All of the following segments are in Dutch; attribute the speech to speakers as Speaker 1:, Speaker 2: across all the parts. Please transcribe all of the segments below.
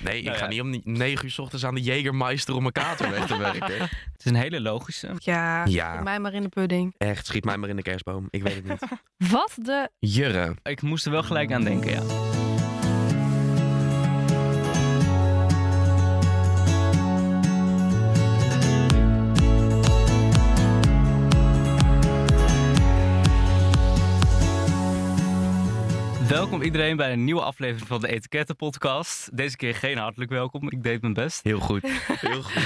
Speaker 1: Nee, ik
Speaker 2: Nou
Speaker 1: ga
Speaker 2: ja.
Speaker 1: niet om ni- negen uur 's ochtends aan de Jägermeister om mijn kater weg te werken.
Speaker 2: Het is een hele logische.
Speaker 3: Ja,
Speaker 1: Ja.
Speaker 3: ja. mij maar in de pudding.
Speaker 1: Echt, schiet mij maar in de kerstboom. Ik weet het niet.
Speaker 3: Wat de...
Speaker 1: Jurre.
Speaker 2: Ik moest er wel gelijk aan denken, ja. Welkom iedereen bij een nieuwe aflevering van de Etiketten Podcast. Deze keer geen hartelijk welkom, ik deed mijn best.
Speaker 1: Heel goed. Heel goed.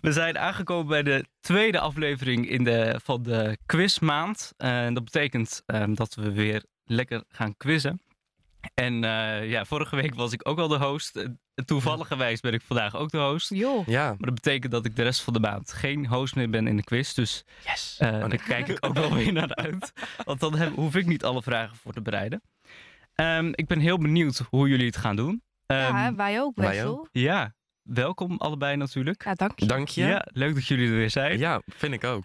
Speaker 2: We zijn aangekomen bij de tweede aflevering in de, van de quizmaand. Eh, En dat betekent ehm, dat we weer lekker gaan quizzen. En eh, ja, vorige week was ik ook al de host. Eh, Toevallig gewijs ben ik vandaag ook de host.
Speaker 3: Joh.
Speaker 1: Ja.
Speaker 2: Maar dat betekent dat ik de rest van de maand geen host meer ben in de quiz. Dus
Speaker 1: Yes.
Speaker 2: eh daar kijk ik ook wel weer naar uit. Want dan heb- hoef ik niet alle vragen voor te bereiden. Ehm, ik ben heel benieuwd hoe jullie het gaan doen. Ehm,
Speaker 3: ja, wij ook,
Speaker 1: wij
Speaker 3: Wessel.
Speaker 2: ja, welkom allebei natuurlijk.
Speaker 3: Ja, dank je.
Speaker 1: Dank je.
Speaker 2: Ja, leuk dat jullie er weer zijn.
Speaker 1: Ja, vind ik ook.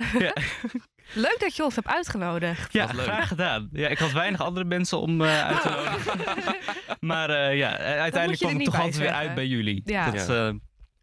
Speaker 3: Leuk dat je ons hebt uitgenodigd.
Speaker 2: Ja,
Speaker 1: Wat leuk.
Speaker 2: graag gedaan. Ja, ik had weinig andere mensen om eh, uit te nodigen. maar eh, ja, eh, uiteindelijk
Speaker 3: Oh.
Speaker 2: kwam het
Speaker 3: moet je er niet
Speaker 2: toch
Speaker 3: bij
Speaker 2: altijd weer
Speaker 3: zeggen.
Speaker 2: uit bij jullie.
Speaker 3: Ja.
Speaker 2: Dat, eh,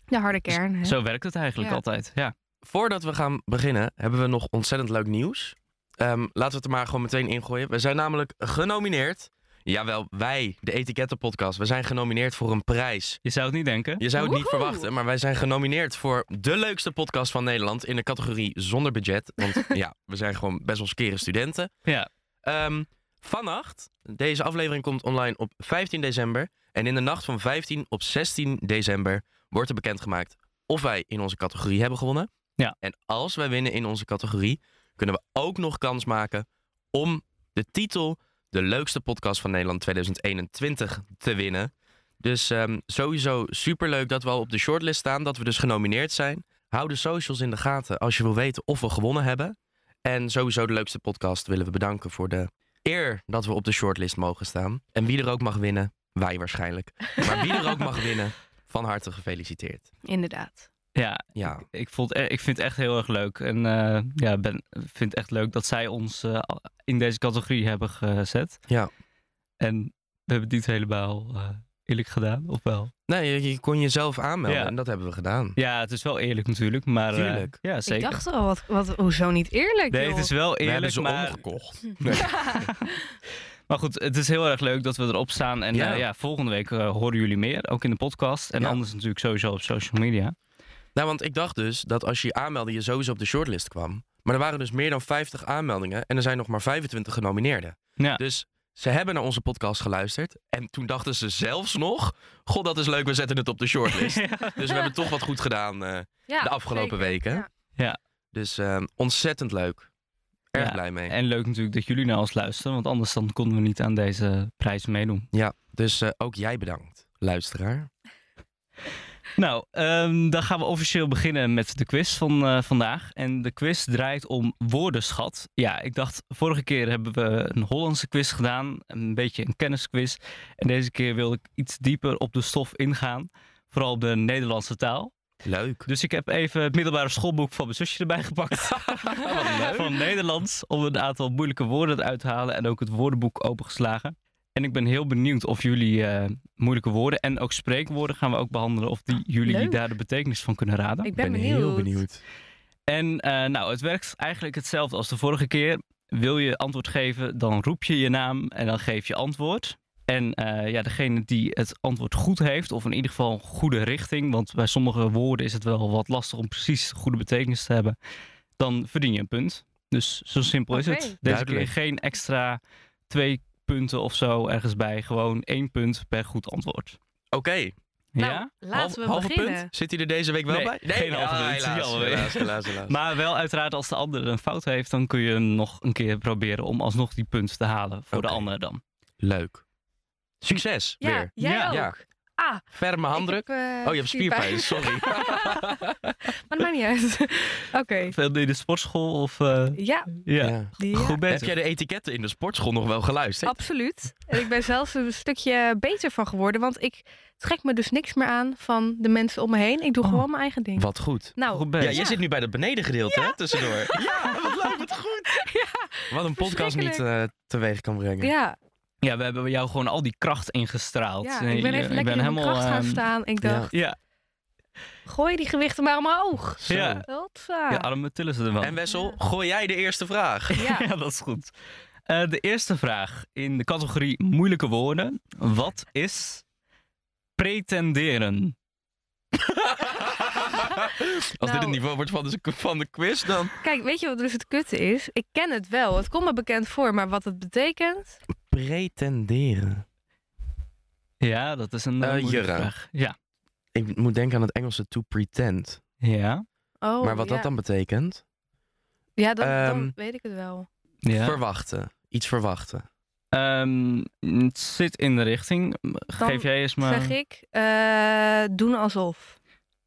Speaker 3: De harde
Speaker 1: Dus
Speaker 3: kern, hè?
Speaker 2: zo werkt het eigenlijk
Speaker 3: Ja.
Speaker 2: altijd. Ja.
Speaker 1: Voordat we gaan beginnen, hebben we nog ontzettend leuk nieuws. Ehm, laten we het er maar gewoon meteen ingooien. We zijn namelijk genomineerd. Jawel, wij, de Etikettenpodcast. We zijn genomineerd voor een prijs.
Speaker 2: Je zou het niet denken.
Speaker 1: Je zou het niet
Speaker 3: Woehoe.
Speaker 1: verwachten, maar wij zijn genomineerd voor de leukste podcast van Nederland in de categorie zonder budget. Want ja, we zijn gewoon best wel skere studenten.
Speaker 2: Ja.
Speaker 1: Ehm, vannacht, deze aflevering komt online op 15 december. En in de nacht van 15 op 16 december wordt er bekendgemaakt of wij in onze categorie hebben gewonnen.
Speaker 2: Ja.
Speaker 1: En als wij winnen in onze categorie, kunnen we ook nog kans maken om de titel De leukste podcast van Nederland 2021 te winnen. Dus ehm, sowieso superleuk dat we al op de shortlist staan, dat we dus genomineerd zijn. Hou de socials in de gaten als je wil weten of we gewonnen hebben. En sowieso de leukste podcast willen we bedanken voor de eer dat we op de shortlist mogen staan. En wie er ook mag winnen, wij waarschijnlijk. Maar wie er ook mag winnen, van harte gefeliciteerd.
Speaker 3: Inderdaad.
Speaker 2: Ja,
Speaker 1: Ja,
Speaker 2: ik, vond, eh, ik vind het echt heel erg leuk. En eh, ja, ben, vind het echt leuk dat zij ons eh, in deze categorie hebben gezet.
Speaker 1: Ja.
Speaker 2: En we hebben het niet helemaal eh, eerlijk gedaan, of wel?
Speaker 1: nee, je, je kon jezelf aanmelden
Speaker 2: Ja.
Speaker 1: en dat hebben we gedaan.
Speaker 2: Ja, het is wel eerlijk natuurlijk, maar... eh,
Speaker 1: Tuurlijk.
Speaker 2: ja, zeker.
Speaker 3: Ik dacht al, wat, wat, hoezo niet eerlijk,
Speaker 2: Nee,
Speaker 3: joh?
Speaker 2: het is wel
Speaker 1: we hebben
Speaker 2: eerlijk,
Speaker 1: ze
Speaker 2: maar...
Speaker 1: omgekocht.
Speaker 2: Maar goed, het is heel erg leuk dat we erop staan. En eh,
Speaker 1: Ja.
Speaker 2: ja, volgende week eh, horen jullie meer, ook in de podcast. En
Speaker 1: Ja.
Speaker 2: anders natuurlijk sowieso op social media.
Speaker 1: Nou, want ik dacht dus dat als je je aanmeldde, je sowieso op de shortlist kwam. Maar er waren dus meer dan 50 aanmeldingen en er zijn nog maar 25 genomineerden.
Speaker 2: Ja.
Speaker 1: Dus ze hebben naar onze podcast geluisterd. En toen dachten ze zelfs nog: God, dat is leuk, we zetten het op de shortlist. dus we hebben toch wat goed gedaan eh,
Speaker 3: Ja,
Speaker 1: de afgelopen
Speaker 3: zeker.
Speaker 1: weken.
Speaker 3: Ja.
Speaker 2: Ja.
Speaker 1: Dus eh, ontzettend leuk. Erg
Speaker 2: Ja.
Speaker 1: blij mee.
Speaker 2: En leuk natuurlijk dat jullie naar ons luisteren, want anders dan konden we niet aan deze prijs meedoen.
Speaker 1: Ja, dus eh, ook jij bedankt, luisteraar.
Speaker 2: Nou, ehm, dan gaan we officieel beginnen met de quiz van eh, vandaag. En de quiz draait om woordenschat. Ja, ik dacht, vorige keer hebben we een Hollandse quiz gedaan. Een beetje een kennisquiz. En deze keer wil ik iets dieper op de stof ingaan. Vooral op de Nederlandse taal.
Speaker 1: Leuk.
Speaker 2: Dus ik heb even het middelbare schoolboek van mijn zusje erbij gepakt. van Nederlands. Om een aantal moeilijke woorden eruit te halen. En ook het woordenboek opengeslagen. En ik ben heel benieuwd of jullie eh, moeilijke woorden en ook spreekwoorden gaan we ook behandelen. Of die jullie
Speaker 3: Leuk.
Speaker 2: daar de betekenis van kunnen raden.
Speaker 3: Ik ben, benieuwd.
Speaker 1: heel benieuwd.
Speaker 2: En eh, nou, het werkt eigenlijk hetzelfde als de vorige keer. Wil je antwoord geven, dan roep je je naam en dan geef je antwoord. En eh, ja, degene die het antwoord goed heeft, of in ieder geval een goede richting, want bij sommige woorden is het wel wat lastig om precies goede betekenis te hebben, dan verdien je een punt. Dus zo simpel is
Speaker 3: Oké.
Speaker 2: het. Deze keer
Speaker 1: Duidelijk.
Speaker 2: geen extra twee punten of zo ergens bij, gewoon één punt per goed antwoord.
Speaker 1: Oké,
Speaker 3: Nou,
Speaker 2: ja?
Speaker 1: half-
Speaker 3: laten
Speaker 1: halve
Speaker 3: we beginnen.
Speaker 1: punt. Zit hij er deze week wel
Speaker 2: Nee,
Speaker 1: bij?
Speaker 2: geen halve
Speaker 1: ah,
Speaker 2: punt.
Speaker 1: Helaas,
Speaker 2: Jammer.
Speaker 1: helaas, helaas, helaas.
Speaker 2: Maar wel uiteraard als de ander een fout heeft, dan kun je hem nog een keer proberen om alsnog die punt te halen voor
Speaker 1: Oké.
Speaker 2: de ander dan.
Speaker 1: Leuk. Succes
Speaker 3: Ja,
Speaker 1: weer.
Speaker 3: jij
Speaker 2: Ja.
Speaker 3: ook.
Speaker 1: Ja.
Speaker 3: Ah, ik
Speaker 1: Ferme handdruk.
Speaker 3: heb, eh,
Speaker 1: oh, je hebt spierpijn, sorry.
Speaker 3: maar dat maakt niet uit. Oké.
Speaker 2: Veel in de sportschool of... eh,
Speaker 3: Ja,
Speaker 2: ja.
Speaker 3: die, ja,
Speaker 2: goed
Speaker 1: Heb
Speaker 2: bezig.
Speaker 1: jij de etiketten in de sportschool nog wel geluisterd?
Speaker 3: absoluut. En ik ben zelfs een stukje beter van geworden, want ik trek me dus niks meer aan van de mensen om me heen. Ik doe
Speaker 2: Oh.
Speaker 3: gewoon mijn eigen ding.
Speaker 1: Wat goed.
Speaker 3: Nou,
Speaker 2: Goed
Speaker 1: Ja,
Speaker 2: bezig.
Speaker 1: jij zit nu bij dat benedengedeelte, hè,
Speaker 3: Oh,
Speaker 1: tussendoor. Ja, wat leuk, wat goed. Wat een podcast niet eh, teweeg kan brengen.
Speaker 3: ja,
Speaker 2: Ja, we hebben jou gewoon al die kracht ingestraald. Eh,
Speaker 3: Ja,
Speaker 2: Nee,
Speaker 3: ik ben even lekker in mijn kracht gaan
Speaker 2: ehm,
Speaker 3: staan. Ik
Speaker 1: ja.
Speaker 3: dacht,
Speaker 2: Ja,
Speaker 3: gooi die gewichten maar omhoog.
Speaker 1: Zo.
Speaker 2: Ja.
Speaker 3: Wat?
Speaker 2: ja, arme tillen ze er wel.
Speaker 1: En Wessel, gooi jij de eerste vraag.
Speaker 3: ja.
Speaker 2: Ja, dat is goed. Eh, de eerste vraag in de categorie moeilijke woorden. Wat is pretenderen?
Speaker 1: Als dit
Speaker 3: Nou.
Speaker 1: het niveau wordt van de, van de quiz, dan...
Speaker 3: Kijk, weet je wat dus het kutte is? Ik ken het wel. Het komt me bekend voor, maar wat het betekent...
Speaker 1: Pretenderen.
Speaker 2: Ja, dat is een eh,
Speaker 1: Eh,
Speaker 2: moeilijke
Speaker 1: Jurre.
Speaker 2: vraag. Ja.
Speaker 1: Ik moet denken aan het Engelse to pretend.
Speaker 2: Ja.
Speaker 3: Oh,
Speaker 1: maar wat
Speaker 3: ja.
Speaker 1: dat dan betekent?
Speaker 3: Ja, dan, dan
Speaker 1: Ehm,
Speaker 3: weet ik het wel.
Speaker 2: ja.
Speaker 1: Verwachten. Iets verwachten.
Speaker 2: Ehm, het zit in de richting. Geef jij eens maar.
Speaker 3: Zeg ik, eh, doen alsof.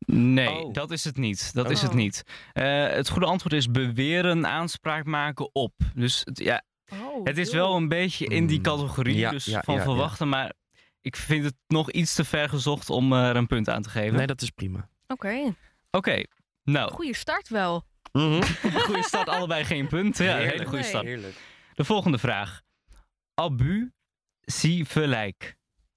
Speaker 2: Nee,
Speaker 1: Oh.
Speaker 2: dat is het niet. Dat is
Speaker 3: Oh.
Speaker 2: het niet. Eh, het goede antwoord is beweren, aanspraak maken op. Dus het, ja,
Speaker 3: Oh,
Speaker 2: het is
Speaker 3: joh.
Speaker 2: wel een beetje in die
Speaker 1: Mm.
Speaker 2: categorie
Speaker 1: Ja,
Speaker 2: dus
Speaker 1: ja,
Speaker 2: van
Speaker 1: ja, ja.
Speaker 2: verwachten. Maar ik vind het nog iets te ver gezocht om eh, er een punt aan te geven.
Speaker 1: Nee, dat is prima.
Speaker 3: Oké,
Speaker 2: Oké, nou,
Speaker 3: goede start wel.
Speaker 1: Mhm.
Speaker 2: goede start, allebei geen punt. Ja, een hele
Speaker 1: Heerlijk.
Speaker 2: goede
Speaker 3: Nee.
Speaker 2: start.
Speaker 1: Heerlijk.
Speaker 2: De volgende vraag. Abu-si-verlijk.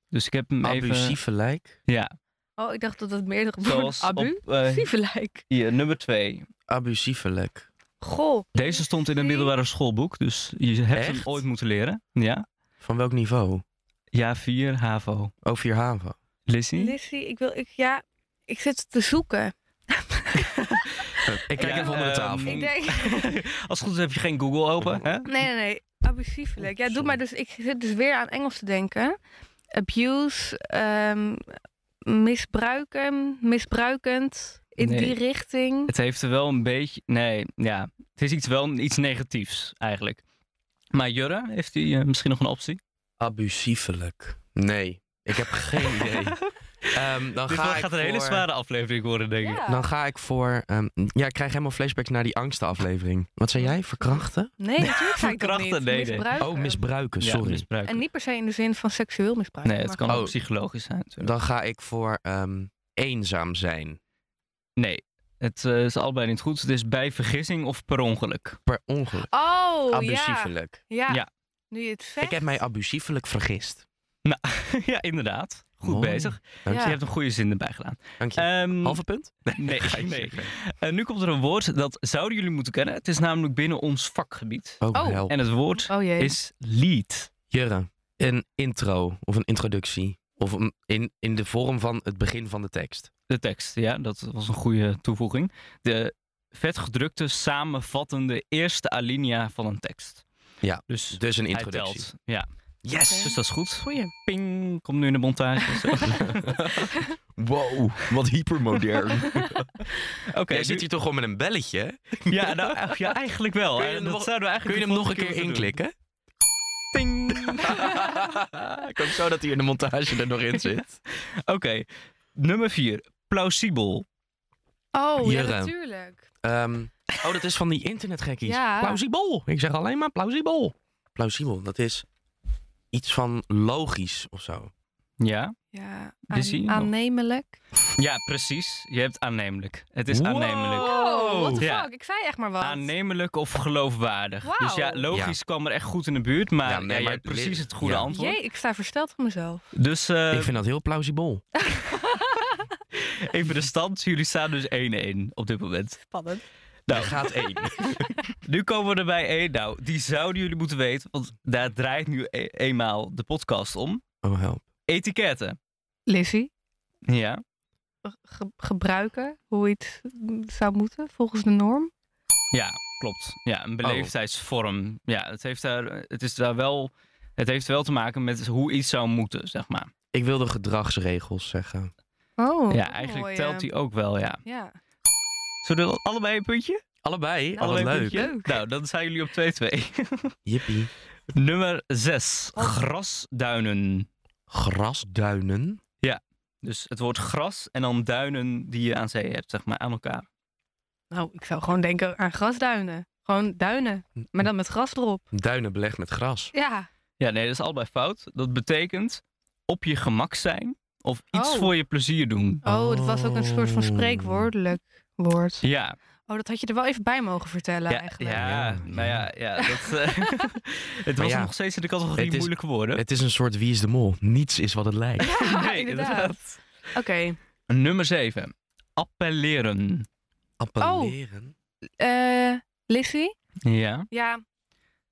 Speaker 2: Dus ik heb hem even...
Speaker 1: Abusieve lijk.
Speaker 2: Ja,
Speaker 3: Oh, ik dacht dat het meerdere woorden...
Speaker 2: zoals
Speaker 3: Abu?
Speaker 2: op eh,
Speaker 3: Sievelijk.
Speaker 2: hier, nummer twee.
Speaker 1: Abusieve lijk.
Speaker 3: Goh.
Speaker 2: Deze stond in een
Speaker 3: Zie-
Speaker 2: middelbare schoolboek, dus je hebt hem
Speaker 1: Echt?
Speaker 2: ooit moeten leren. Ja,
Speaker 1: Van welk niveau?
Speaker 2: ja 4, HAVO.
Speaker 1: Over je haven.
Speaker 2: Lizzie?
Speaker 3: Lissy, ik wil... Ik, ja, ik zit te zoeken.
Speaker 1: Ik kijk
Speaker 2: Ja,
Speaker 1: even onder de
Speaker 2: ehm,
Speaker 1: tafel.
Speaker 3: Ik denk...
Speaker 2: Als het goed is heb je geen Google open, hè?
Speaker 3: Nee, nee, nee. Abusiefelijk. Ja, doe
Speaker 1: Sorry.
Speaker 3: maar. Dus ik zit dus weer aan Engels te denken. Abuse, ehm, misbruiken, misbruikend, in
Speaker 2: Nee.
Speaker 3: die richting.
Speaker 2: Het heeft er wel een beetje... Nee, ja. Het is iets, wel iets negatiefs, eigenlijk. Maar Jurre, heeft hij eh, misschien nog een optie?
Speaker 1: Abusiefelijk. Nee, ik heb geen idee. Ehm, dan
Speaker 2: Dit
Speaker 1: ga ik
Speaker 2: gaat een hele
Speaker 1: voor-
Speaker 2: zware aflevering worden, denk ik.
Speaker 3: Ja.
Speaker 1: Dan ga ik voor. ehm, ja, ik krijg helemaal flashbacks naar die angstenaflevering. Wat zei jij? Verkrachten?
Speaker 3: Nee, natuurlijk ga ik dat
Speaker 2: verkrachten,
Speaker 3: niet.
Speaker 2: nee, nee.
Speaker 3: Misbruiken.
Speaker 1: Oh, misbruiken,
Speaker 2: Ja,
Speaker 1: sorry.
Speaker 2: misbruik.
Speaker 3: En niet per se in de zin van seksueel misbruik.
Speaker 2: Nee, het
Speaker 3: maar
Speaker 2: kan
Speaker 1: gewoon-
Speaker 2: ook
Speaker 1: Oh.
Speaker 2: psychologisch zijn. natuurlijk.
Speaker 1: Dan ga ik voor ehm, eenzaam zijn.
Speaker 2: Nee, het eh, is allebei niet goed. Het is bij vergissing of per ongeluk.
Speaker 1: Per ongeluk.
Speaker 3: gewoon- Oh, ja.
Speaker 1: abusiefelijk.
Speaker 3: ja.
Speaker 2: Ja.
Speaker 3: Nu je het zegt.
Speaker 1: Ik heb mij abusiefelijk vergist.
Speaker 2: ja, inderdaad. Goed
Speaker 1: Mooi.
Speaker 2: bezig.
Speaker 1: Dank
Speaker 3: Ja.
Speaker 2: Je hebt een goede zin erbij gedaan.
Speaker 1: Dank je.
Speaker 2: Ehm,
Speaker 1: Halve punt?
Speaker 2: nee,
Speaker 1: Geintje.
Speaker 2: nee. En nu komt er een woord dat zouden jullie moeten kennen. Het is namelijk binnen ons vakgebied.
Speaker 1: Oh,
Speaker 3: Oh.
Speaker 1: help.
Speaker 2: En het woord
Speaker 3: Oh jee.
Speaker 2: is lead.
Speaker 1: Jurre, een intro of een introductie. Of een, in, in de vorm van het begin van de tekst.
Speaker 2: De tekst, ja, dat was een goede toevoeging. De vetgedrukte, samenvattende eerste alinea van een tekst.
Speaker 1: Ja,
Speaker 2: dus
Speaker 1: Dus een
Speaker 2: hij
Speaker 1: introductie.
Speaker 2: telt. Ja,
Speaker 1: Yes!
Speaker 2: dus dat is goed.
Speaker 3: Goeie.
Speaker 2: Ping, komt nu in de montage. Zo.
Speaker 1: Wow, wat hypermodern.
Speaker 2: Oké,
Speaker 1: Jij
Speaker 2: nu-
Speaker 1: zit hier toch gewoon met een belletje? hè?
Speaker 2: Ja, nou, ja, eigenlijk wel.
Speaker 1: Kun je
Speaker 2: Eh,
Speaker 1: hem
Speaker 2: dat
Speaker 1: nog-
Speaker 2: zouden we eigenlijk
Speaker 1: Kun je
Speaker 2: de
Speaker 1: hem nog een
Speaker 2: volgende
Speaker 1: keer
Speaker 2: moeten doen.
Speaker 1: inklikken?
Speaker 2: Ting.
Speaker 1: Ik hoop zo dat hij in de montage er nog in zit.
Speaker 2: Oké, nummer 4. Plausibel.
Speaker 3: Oh, ja,
Speaker 1: Jurre.
Speaker 3: natuurlijk.
Speaker 1: Ehm, oh, dat is van die internetgekkies.
Speaker 3: Ja.
Speaker 1: Plausibel. Ik zeg alleen maar plausibel. Plausibel, dat is iets van logisch of zo.
Speaker 2: Ja?
Speaker 3: Ja,
Speaker 2: Lissy,
Speaker 3: aan,
Speaker 2: nog?
Speaker 3: aannemelijk.
Speaker 2: Ja, precies. Je hebt aannemelijk. Het is
Speaker 1: Wow.
Speaker 2: aannemelijk.
Speaker 3: Oh, what the
Speaker 2: Ja.
Speaker 3: fuck. Ik zei echt maar wat.
Speaker 2: Aannemelijk of geloofwaardig.
Speaker 3: Wauw.
Speaker 2: Dus ja, logisch kwam er echt goed in de buurt, maar,
Speaker 1: Ja, nee,
Speaker 2: ja, je
Speaker 1: maar
Speaker 2: hebt precies
Speaker 1: li-
Speaker 2: het goede
Speaker 1: ja.
Speaker 2: antwoord.
Speaker 3: Jee, ik sta versteld van mezelf.
Speaker 2: Dus eh,
Speaker 1: Ik vind dat heel plausibel.
Speaker 2: even de stand. Jullie staan dus 1-1 op dit moment.
Speaker 3: Spannend.
Speaker 1: Er gaat één.
Speaker 2: Nu komen we erbij één. Nou, die zouden jullie moeten weten, want daar draait nu e- eenmaal de podcast om.
Speaker 1: Oh, help.
Speaker 2: Etiketten.
Speaker 3: Lizzie,
Speaker 2: Ja.
Speaker 3: ge- gebruiken hoe iets zou moeten volgens de norm.
Speaker 2: Ja, klopt. Ja,
Speaker 1: Oh.
Speaker 2: een beleefdheidsvorm. Ja, het heeft daar, het is daar wel, het heeft wel te maken met hoe iets zou moeten, zeg maar.
Speaker 1: Ik wilde gedragsregels zeggen.
Speaker 3: Oh,
Speaker 2: ja, eigenlijk telt die ook wel, ja.
Speaker 3: Ja.
Speaker 2: Zullen we allebei een puntje?
Speaker 1: Allebei?
Speaker 3: Nou,
Speaker 1: Oh, wat
Speaker 2: allebei een
Speaker 1: leuk.
Speaker 2: puntje?
Speaker 3: Leuk.
Speaker 2: Nou, dan zijn jullie op 2-2.
Speaker 1: Jippie.
Speaker 2: Nummer 6.
Speaker 3: Oh.
Speaker 2: Grasduinen.
Speaker 1: Grasduinen.
Speaker 2: Dus het woord gras en dan duinen die je aan zee hebt, zeg maar, aan elkaar.
Speaker 3: Nou, ik zou gewoon denken aan grasduinen. Gewoon duinen, maar dan met gras erop.
Speaker 1: Duinen belegd met gras.
Speaker 3: Ja.
Speaker 2: Ja, nee, dat is allebei fout. Dat betekent op je gemak zijn of iets
Speaker 3: Oh.
Speaker 2: voor je plezier doen.
Speaker 3: Oh, het was ook een soort van
Speaker 1: Oh.
Speaker 3: spreekwoordelijk woord.
Speaker 2: Ja,
Speaker 3: Oh, dat had je er wel even bij mogen vertellen
Speaker 2: Ja,
Speaker 3: eigenlijk.
Speaker 2: ja,
Speaker 1: Ja,
Speaker 2: nou ja, ja dat, eh, het
Speaker 1: Maar
Speaker 2: was
Speaker 1: ja,
Speaker 2: nog steeds in de categorie
Speaker 1: het is-
Speaker 2: moeilijke woorden.
Speaker 1: Het is een soort wie is de mol. Niets is wat het lijkt.
Speaker 3: Ja,
Speaker 2: Nee,
Speaker 3: inderdaad. Oké.
Speaker 2: Nummer 7. Appelleren.
Speaker 1: Appelleren.
Speaker 3: Eh, Lissy?
Speaker 2: Ja.
Speaker 3: Ja,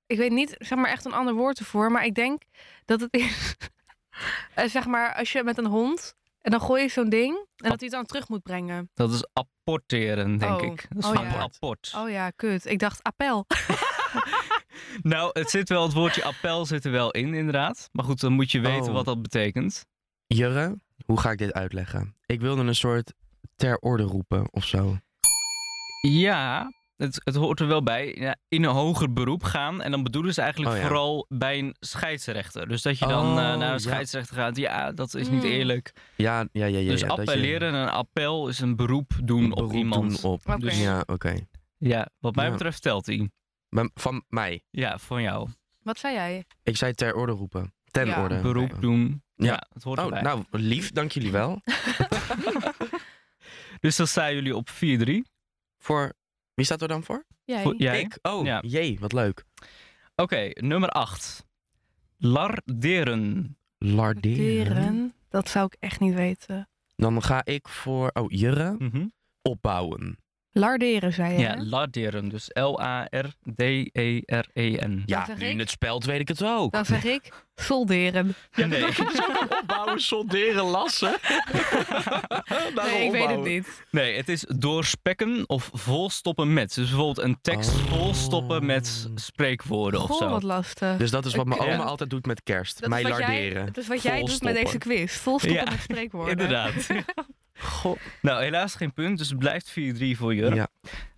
Speaker 3: ik weet niet, zeg maar echt een ander woord ervoor, maar ik denk dat het is, eh, zeg maar, als je met een hond en dan gooi je zo'n ding en dat hij het dan terug moet brengen.
Speaker 2: Dat is apporteren, denk
Speaker 3: Oh.
Speaker 2: ik. Dat is
Speaker 3: Oh,
Speaker 2: van
Speaker 3: ja.
Speaker 2: apport.
Speaker 3: Oh ja, kut. Ik dacht appel.
Speaker 2: Nou, het zit wel, het woordje appel zit er wel in, inderdaad. Maar goed, dan moet je weten
Speaker 1: Oh.
Speaker 2: wat dat betekent.
Speaker 1: Jurre, hoe ga ik dit uitleggen? Ik wilde een soort ter orde roepen of zo.
Speaker 2: Ja, het, het hoort er wel bij. Ja, in een hoger beroep gaan. En dan bedoelen ze eigenlijk
Speaker 1: Oh, ja.
Speaker 2: vooral bij een scheidsrechter. Dus dat je dan eh,
Speaker 1: Oh,
Speaker 2: naar
Speaker 1: ja.
Speaker 2: een scheidsrechter gaat. Ja, dat is niet
Speaker 3: Mm.
Speaker 2: eerlijk.
Speaker 1: Ja, ja, ja. ja
Speaker 2: dus
Speaker 1: ja, dat je
Speaker 2: appelleren en een appel is een beroep doen
Speaker 1: een
Speaker 2: op
Speaker 1: beroep
Speaker 2: iemand.
Speaker 1: doen op.
Speaker 3: Oké.
Speaker 2: Dus-
Speaker 1: Ja, oké.
Speaker 2: Ja, wat mij
Speaker 1: Ja.
Speaker 2: betreft telt die.
Speaker 1: Maar Van mij.
Speaker 2: Ja, van jou.
Speaker 3: Wat zei jij?
Speaker 1: Ik zei ter orde roepen. Ten
Speaker 3: Ja.
Speaker 1: orde.
Speaker 2: Beroep
Speaker 1: Oké.
Speaker 2: doen.
Speaker 1: Ja.
Speaker 2: Ja, het hoort
Speaker 1: Oh,
Speaker 2: erbij.
Speaker 1: nou, lief, dank jullie wel.
Speaker 2: Dus dan staan jullie op 4-3.
Speaker 1: Voor. Wie staat er dan voor?
Speaker 3: Jij.
Speaker 2: Voor- Jij?
Speaker 1: Ik. Oh,
Speaker 2: Ja.
Speaker 1: jee, wat leuk.
Speaker 2: Oké, nummer 8. Larderen.
Speaker 1: Larderen.
Speaker 3: Deren, dat zou ik echt niet weten.
Speaker 1: Dan ga ik voor. Oh, Jurre.
Speaker 2: Mhm.
Speaker 1: Opbouwen.
Speaker 3: Larderen, zei je.
Speaker 2: Ja, larderen. Dus E L-A-R-D-E-R-E-N.
Speaker 1: Ja,
Speaker 3: zeg
Speaker 1: nu
Speaker 3: ik.
Speaker 1: in het spelt weet ik het ook.
Speaker 3: Dan zeg ik solderen.
Speaker 2: Ja, nee.
Speaker 1: Opbouwen, solderen, lassen.
Speaker 3: Nee, ik weet het niet.
Speaker 2: Nee, het is doorspekken of volstoppen met. Dus bijvoorbeeld een tekst
Speaker 1: Oh.
Speaker 2: volstoppen met spreekwoorden of
Speaker 3: Goh,
Speaker 2: zo.
Speaker 3: wat lastig.
Speaker 1: Dus dat is wat mijn
Speaker 2: Ja.
Speaker 1: oma altijd doet met kerst.
Speaker 3: Dat is
Speaker 1: mij
Speaker 3: wat jij-
Speaker 1: larderen.
Speaker 3: Dat is wat jij doet met
Speaker 1: Volstoppen.
Speaker 3: deze quiz. Volstoppen
Speaker 2: Ja,
Speaker 3: met spreekwoorden.
Speaker 2: Inderdaad.
Speaker 1: Goh.
Speaker 2: nou, helaas geen punt, dus het blijft 4-3 voor Jurre.
Speaker 1: Ja.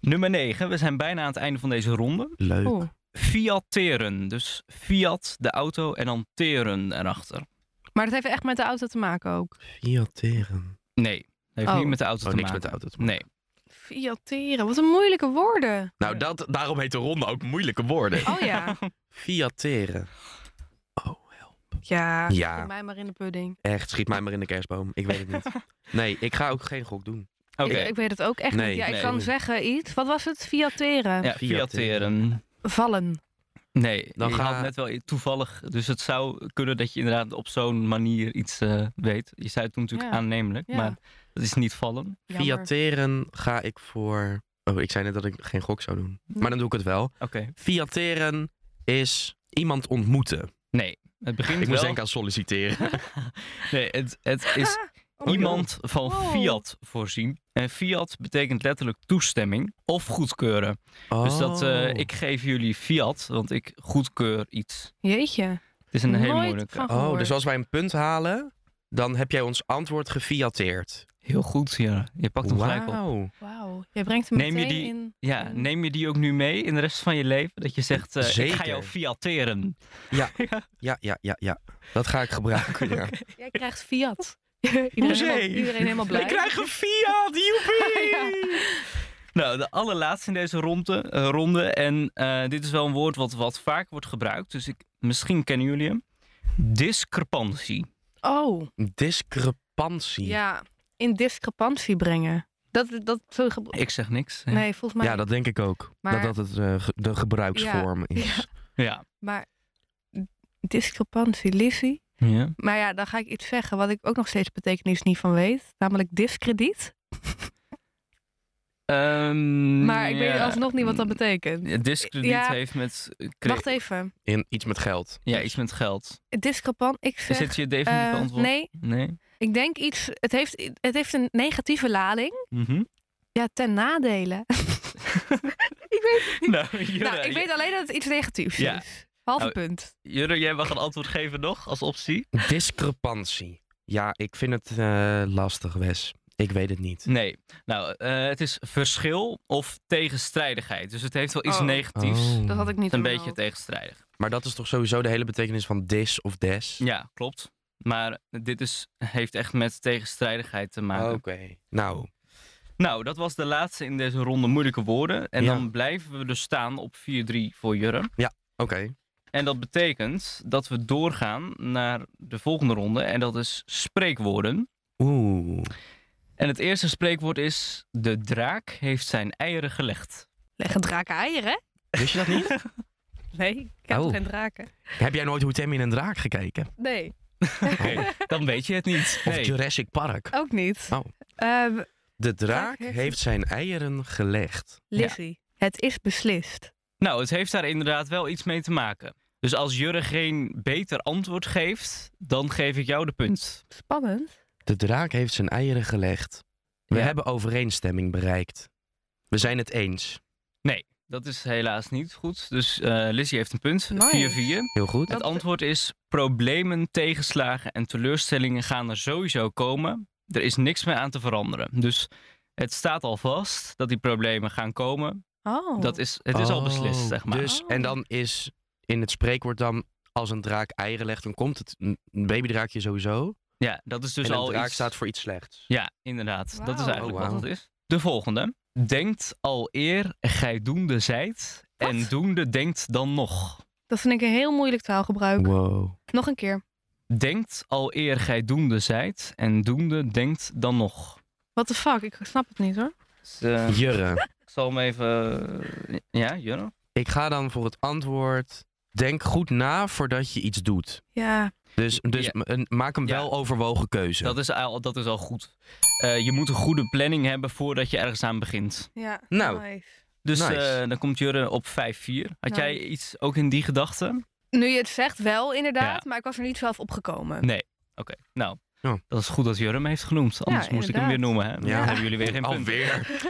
Speaker 2: Nummer 9, we zijn bijna aan het einde van deze ronde.
Speaker 1: Leuk.
Speaker 3: Oeh.
Speaker 2: Fiateren, dus Fiat, de auto, en dan teren erachter.
Speaker 3: Maar dat heeft echt met de auto te maken ook.
Speaker 1: Fiateren.
Speaker 2: Nee, dat heeft
Speaker 3: Oh.
Speaker 2: niet met de auto
Speaker 1: Oh,
Speaker 2: te
Speaker 1: niks
Speaker 2: maken.
Speaker 1: met de auto. te maken.
Speaker 2: Nee.
Speaker 3: Fiateren, wat een moeilijke woorden.
Speaker 1: Nou, dat, daarom heet de ronde ook moeilijke woorden.
Speaker 3: Oh ja,
Speaker 1: Fiateren.
Speaker 3: ja.
Speaker 1: Ja.
Speaker 3: Gooi mij maar in de pudding.
Speaker 1: Echt, schiet mij maar in de kerstboom. Ik weet het niet. Nee, ik ga ook geen gok doen.
Speaker 2: Oké.
Speaker 3: Ik, ik weet het ook echt
Speaker 1: Nee,
Speaker 3: niet. Ja, ik
Speaker 2: nee.
Speaker 3: kan zeggen iets. Wat was het? Fiateren.
Speaker 2: Ja,
Speaker 3: eh,
Speaker 2: fiateren.
Speaker 3: Vallen.
Speaker 2: Nee,
Speaker 1: Dan
Speaker 2: je
Speaker 1: ga-
Speaker 2: had net wel i- toevallig. Dus het zou kunnen dat je inderdaad op zo'n manier iets eh, weet. Je zei het toen natuurlijk
Speaker 3: Ja.
Speaker 2: aannemelijk,
Speaker 3: Ja.
Speaker 2: maar dat is niet vallen.
Speaker 3: Jammer.
Speaker 1: Fiateren ga ik voor... Oh, ik zei net dat ik geen gok zou doen. Maar dan doe ik het wel.
Speaker 2: Oké.
Speaker 1: Fiateren is iemand ontmoeten.
Speaker 2: Nee, het begint
Speaker 1: Ik
Speaker 2: wel...
Speaker 1: moest denken aan solliciteren.
Speaker 2: Nee, het, het is
Speaker 3: Oh,
Speaker 2: iemand van
Speaker 3: Wow.
Speaker 2: fiat voorzien. En fiat betekent letterlijk toestemming of goedkeuren. Dus dat
Speaker 1: Oh.
Speaker 2: eh, ik geef jullie fiat, want ik goedkeur iets.
Speaker 3: Jeetje.
Speaker 2: Het is een hele
Speaker 3: Nooit
Speaker 2: moeilijke.
Speaker 3: van gehoord.
Speaker 1: Oh, dus als wij een punt halen, dan heb jij ons antwoord gefiateerd.
Speaker 2: Heel goed, ja. Je pakt hem gelijk op.
Speaker 1: Wauw.
Speaker 3: Wauw. Jij brengt hem
Speaker 2: Neem je
Speaker 3: meteen
Speaker 2: die-
Speaker 3: in.
Speaker 2: Ja, neem je die ook nu mee in de rest van je leven? Dat je zegt, eh, ik ga
Speaker 1: Zeker.
Speaker 2: jou fiateren.
Speaker 1: Ja, ja, ja, ja. Dat ga ik gebruiken, ja.
Speaker 3: Jij krijgt fiat. iedereen,
Speaker 1: Hoezee.
Speaker 3: helemaal, iedereen helemaal blij.
Speaker 1: Ik krijg een Fiat, joepie!
Speaker 2: Nou, de allerlaatste in deze ronde. eh, ronde en eh, dit is wel een woord wat, wat vaak wordt gebruikt. Dus ik, misschien kennen jullie hem. Discrepantie.
Speaker 3: Oh,
Speaker 1: Discrepantie.
Speaker 3: ja. In discrepantie brengen. Dat, dat zo ge-
Speaker 2: Ik zeg niks. Ja.
Speaker 3: Nee, volgens mij.
Speaker 1: Ja, dat denk ik ook.
Speaker 3: Maar-
Speaker 1: Dat dat het, eh, ge- de gebruiksvorm is.
Speaker 2: Ja.
Speaker 3: Maar discrepantie, Lizzie.
Speaker 2: ja.
Speaker 3: Maar ja, dan ga ik iets zeggen wat ik ook nog steeds betekenis niet van weet. Namelijk discrediet.
Speaker 2: Ehm,
Speaker 3: Maar ik weet
Speaker 2: ja. Mm.
Speaker 3: alsnog niet wat dat betekent.
Speaker 2: Ja, Discrediet
Speaker 3: Ja.
Speaker 2: heeft met... eh, cre-
Speaker 3: Wacht even.
Speaker 1: In iets met geld.
Speaker 2: Ja, iets met geld.
Speaker 3: Discrepant, ik
Speaker 2: Is
Speaker 3: zeg...
Speaker 2: dit je definitieve
Speaker 3: eh,
Speaker 2: antwoord?
Speaker 3: nee,
Speaker 2: Nee.
Speaker 3: ik denk iets... Het heeft, het heeft een negatieve lading.
Speaker 2: Mhm.
Speaker 3: Ja, ten nadele. ik weet,
Speaker 2: nou, Jurre,
Speaker 3: nou, ik weet alleen dat het iets negatiefs
Speaker 2: Ja.
Speaker 3: is. Halve
Speaker 2: Nou,
Speaker 3: punt.
Speaker 2: Jurre, jij mag een antwoord geven nog als optie.
Speaker 1: Discrepantie. Ja, ik vind het eh, lastig, Wes. Ik weet het niet.
Speaker 2: Nee. Nou, eh, het is verschil of tegenstrijdigheid. Dus het heeft wel iets
Speaker 3: Oh.
Speaker 2: negatiefs. Het
Speaker 1: Oh.
Speaker 3: Dat had ik
Speaker 2: is
Speaker 3: niet
Speaker 2: een
Speaker 3: door
Speaker 2: beetje
Speaker 3: mijn
Speaker 2: tegenstrijdig.
Speaker 1: Maar dat is toch sowieso de hele betekenis van dis of des?
Speaker 2: Ja, klopt. Maar dit is, heeft echt met tegenstrijdigheid te maken.
Speaker 1: Oké. Nou,
Speaker 2: Nou, dat was de laatste in deze ronde moeilijke woorden. En
Speaker 1: Ja.
Speaker 2: dan blijven we dus staan op 4-3 voor Jurre.
Speaker 1: oké.
Speaker 2: En dat betekent dat we doorgaan naar de volgende ronde. En dat is spreekwoorden.
Speaker 1: Oeh.
Speaker 2: En het eerste spreekwoord is: De draak heeft zijn eieren gelegd.
Speaker 3: Leggen draken eieren?
Speaker 1: Wist je dat niet?
Speaker 3: Nee, ik heb
Speaker 1: Oh.
Speaker 3: toch geen draken?
Speaker 1: Heb jij nooit Hoe Tem in een Draak gekeken?
Speaker 3: Nee,
Speaker 2: Dan weet je het niet.
Speaker 1: Of
Speaker 2: Nee.
Speaker 1: Jurassic Park?
Speaker 3: ook niet.
Speaker 1: Oh.
Speaker 3: Ehm,
Speaker 1: De draak
Speaker 3: Draak heeft-
Speaker 1: heeft zijn eieren gelegd.
Speaker 3: Lizzie, het is beslist.
Speaker 2: Nou, het heeft daar inderdaad wel iets mee te maken. Dus als Jurre geen beter antwoord geeft, dan geef ik jou de punt.
Speaker 3: Spannend.
Speaker 1: De draak heeft zijn eieren gelegd. Hm. We
Speaker 2: Ja.
Speaker 1: hebben overeenstemming bereikt. We zijn het eens.
Speaker 2: Dat is helaas niet goed. Dus eh Lizzie heeft een punt. 4-4.
Speaker 3: Nice.
Speaker 1: Heel goed.
Speaker 2: Het antwoord is: problemen, tegenslagen en teleurstellingen gaan er sowieso komen. Er is niks meer aan te veranderen. Dus het staat al vast dat die problemen gaan komen.
Speaker 3: Oh.
Speaker 2: Dat is, het is al beslist,
Speaker 1: Oh,
Speaker 2: zeg maar.
Speaker 1: Dus, en dan is in het spreekwoord dan... Als een draak eieren legt, dan komt het een een babydraakje sowieso.
Speaker 2: Ja, dat is dus
Speaker 1: en een
Speaker 2: al
Speaker 1: draak
Speaker 2: iets...
Speaker 1: staat voor iets slechts.
Speaker 2: Ja, inderdaad. Dat is
Speaker 3: Wauw.
Speaker 2: eigenlijk
Speaker 1: Oh,
Speaker 2: wat
Speaker 1: wauw.
Speaker 2: het is. De volgende. Denkt al eer gij doende zijt
Speaker 3: Wat?
Speaker 2: en doende denkt dan nog.
Speaker 3: Dat vind ik een heel moeilijk taalgebruik.
Speaker 1: Wow.
Speaker 3: Nog een keer.
Speaker 2: Denkt al eer gij doende zijt en doende denkt dan nog.
Speaker 3: What the fuck? Ik snap het niet hoor.
Speaker 2: Dus, eh,
Speaker 1: Jurre.
Speaker 2: ik zal hem even... eh, Ja, Jurre?
Speaker 1: Ik ga dan voor het antwoord... Denk goed na voordat je iets doet.
Speaker 3: Ja.
Speaker 1: Dus, dus
Speaker 2: Ja.
Speaker 1: ma- een- maak een
Speaker 2: Ja.
Speaker 1: wel overwogen keuze.
Speaker 2: Dat is al, dat is al goed. Eh, je moet een goede planning hebben voordat je ergens aan begint.
Speaker 3: ja.
Speaker 1: Nou.
Speaker 3: nice.
Speaker 2: Dus
Speaker 1: Nice.
Speaker 2: eh, dan komt Jurre op 5-4. Had jij
Speaker 3: Nice.
Speaker 2: iets ook in die gedachten?
Speaker 3: Nu je het zegt, wel inderdaad,
Speaker 2: Ja.
Speaker 3: maar ik was er niet zelf opgekomen.
Speaker 2: Nee. Oké, nou.
Speaker 1: Ja.
Speaker 2: Dat is goed dat Jurre hem heeft genoemd. Anders moest ik hem weer
Speaker 3: inderdaad.
Speaker 2: noemen. Hè? Dan
Speaker 1: Ja.
Speaker 2: hebben jullie weer geen punt.
Speaker 1: Alweer.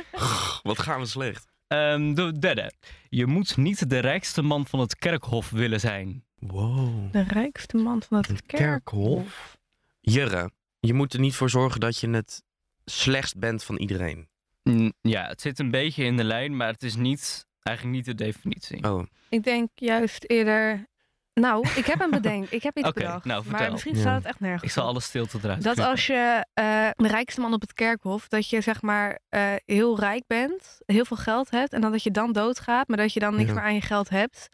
Speaker 1: Wat gaan we slecht.
Speaker 2: Ehm, de derde. Je moet niet de rijkste man van het kerkhof willen zijn.
Speaker 1: Wow.
Speaker 3: De rijkste man van het kerk.
Speaker 1: kerkhof. Jurre, je moet er niet voor zorgen dat je het slechtst bent van iedereen.
Speaker 2: Mm, ja, het zit een beetje in de lijn, maar het is niet, eigenlijk niet de definitie.
Speaker 1: Oh,
Speaker 3: Ik denk juist eerder. Nou, ik heb een bedenk. Ik heb iets
Speaker 2: Oké,
Speaker 3: bedacht.
Speaker 2: nou, vertel.
Speaker 3: maar misschien
Speaker 1: Ja.
Speaker 3: staat het echt nergens.
Speaker 2: Ik zal
Speaker 3: op.
Speaker 2: alle stilte eruit
Speaker 3: Dat
Speaker 2: knippen.
Speaker 3: als je eh, de rijkste man op het kerkhof, dat je zeg maar eh, heel rijk bent, heel veel geld hebt en dan dat je dan doodgaat, maar dat je dan niks
Speaker 1: Ja.
Speaker 3: meer aan je geld hebt.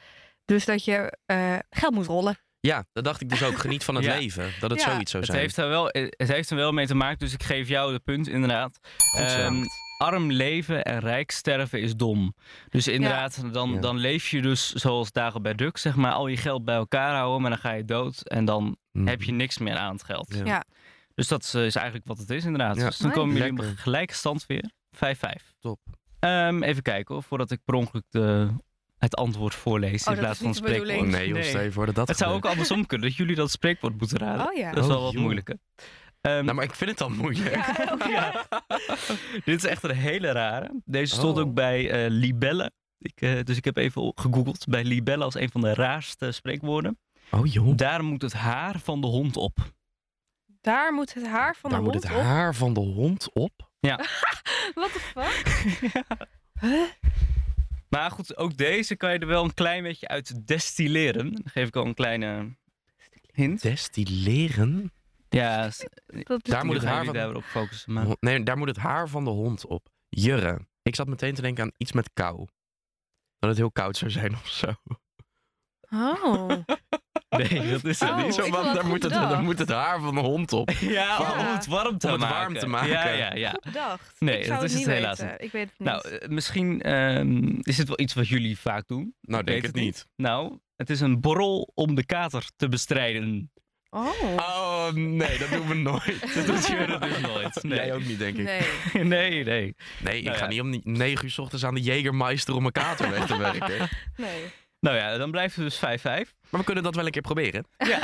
Speaker 3: Dus dat je eh, geld moet rollen.
Speaker 1: ja, dat dacht ik dus ook. Geniet van het
Speaker 2: Ja.
Speaker 1: leven. Dat het
Speaker 3: Ja.
Speaker 1: zoiets zou
Speaker 2: het
Speaker 1: zijn.
Speaker 2: heeft, er wel, eh, het heeft er wel mee te maken, dus ik geef jou de punt inderdaad.
Speaker 1: Goed zo.
Speaker 2: Ehm, arm leven en rijk sterven is dom. Dus inderdaad, dan,
Speaker 1: Ja.
Speaker 2: dan leef je dus zoals Dagobert Duck, zeg maar, al je geld bij elkaar houden, maar dan ga je dood en dan
Speaker 1: Mm.
Speaker 2: heb je niks meer aan het geld.
Speaker 1: Ja.
Speaker 3: Ja.
Speaker 2: Dus dat is, eh, is eigenlijk wat het is inderdaad.
Speaker 1: Ja.
Speaker 2: Dus dan
Speaker 3: Nice.
Speaker 2: komen jullie op
Speaker 1: Lekker.
Speaker 2: gelijke stand weer. 5-5.
Speaker 1: Top.
Speaker 2: Ehm, even kijken hoor, voordat ik per ongeluk de, het antwoord voorlees
Speaker 3: Oh,
Speaker 2: in
Speaker 3: dat
Speaker 2: plaats
Speaker 3: is
Speaker 2: van
Speaker 3: niet
Speaker 2: het
Speaker 3: de bedoeling.
Speaker 1: Oh
Speaker 2: spreekwoord.
Speaker 1: nee, joh, stel je voor dat dat
Speaker 2: Het zou ook
Speaker 1: gebeurt.
Speaker 2: andersom kunnen, dat jullie dat spreekwoord moeten raden.
Speaker 3: Oh ja.
Speaker 2: Dat is wel
Speaker 1: Oh,
Speaker 2: wat
Speaker 1: joh.
Speaker 2: moeilijker. Ehm, oh,
Speaker 1: Nou, maar ik vind het al moeilijk.
Speaker 3: Ja, oké.
Speaker 2: ja. Dit is echt een hele rare. Deze stond
Speaker 1: Oh.
Speaker 2: ook bij eh, Libelle. Ik, eh, dus ik heb even gegoogeld bij Libelle als een van de raarste spreekwoorden.
Speaker 1: Oh joh.
Speaker 2: Daar moet het haar van de hond op.
Speaker 3: Daar moet het haar van
Speaker 1: Daar
Speaker 3: de
Speaker 1: moet
Speaker 3: hond
Speaker 1: het haar van de hond op.
Speaker 3: op. What the fuck? Huh?
Speaker 2: Maar goed, ook deze kan je er wel een klein beetje uit destilleren. Dan geef ik al een kleine hint.
Speaker 1: Destilleren.
Speaker 2: Ja, s-
Speaker 3: Dat is
Speaker 1: Daar moet het
Speaker 2: gaan
Speaker 1: haar
Speaker 2: jullie
Speaker 1: van-
Speaker 2: daarop focussen. Maar...
Speaker 1: Nee, daar moet het haar van de hond op. Jurre. Ik zat meteen te denken aan iets met kou. Dat het heel koud zou zijn of zo.
Speaker 3: Oh.
Speaker 2: Nee, dat is het
Speaker 3: Oh,
Speaker 1: niet
Speaker 2: niet.
Speaker 1: zo,
Speaker 3: ik
Speaker 1: want
Speaker 3: had dat
Speaker 1: daar
Speaker 3: goed
Speaker 1: moet, het,
Speaker 3: bedacht.
Speaker 1: daar moet het haar van de hond op.
Speaker 2: Ja,
Speaker 3: Ja.
Speaker 2: om het warm te
Speaker 1: Oh, Om het
Speaker 2: maken.
Speaker 1: warm te maken.
Speaker 2: Ja, ja, ja.
Speaker 3: Bedacht.
Speaker 2: Nee,
Speaker 3: ik zou
Speaker 2: dat is
Speaker 3: het niet
Speaker 2: het helaas
Speaker 3: weten. Ik weet het niet.
Speaker 2: Nou, eh, misschien ehm, is het wel iets wat jullie vaak doen.
Speaker 1: Nou,
Speaker 2: Ik
Speaker 1: denk
Speaker 2: weet
Speaker 1: het
Speaker 2: het
Speaker 1: niet.
Speaker 2: Nou, het is een borrel om de kater te bestrijden.
Speaker 3: oh.
Speaker 1: Oh, nee, dat doen we nooit.
Speaker 2: Dat doet je dus nooit. Nee,
Speaker 1: Jij ook niet, denk ik. Nee,
Speaker 3: nee.
Speaker 2: nee. nee.
Speaker 1: ik
Speaker 2: Nou
Speaker 1: ga
Speaker 2: ja.
Speaker 1: niet om 9 uur 's ochtends aan de Jägermeister om een kater weg te werken.
Speaker 3: nee.
Speaker 2: Nou ja, dan blijft het dus 5-5.
Speaker 1: Maar we kunnen dat wel een keer proberen.
Speaker 2: Ja.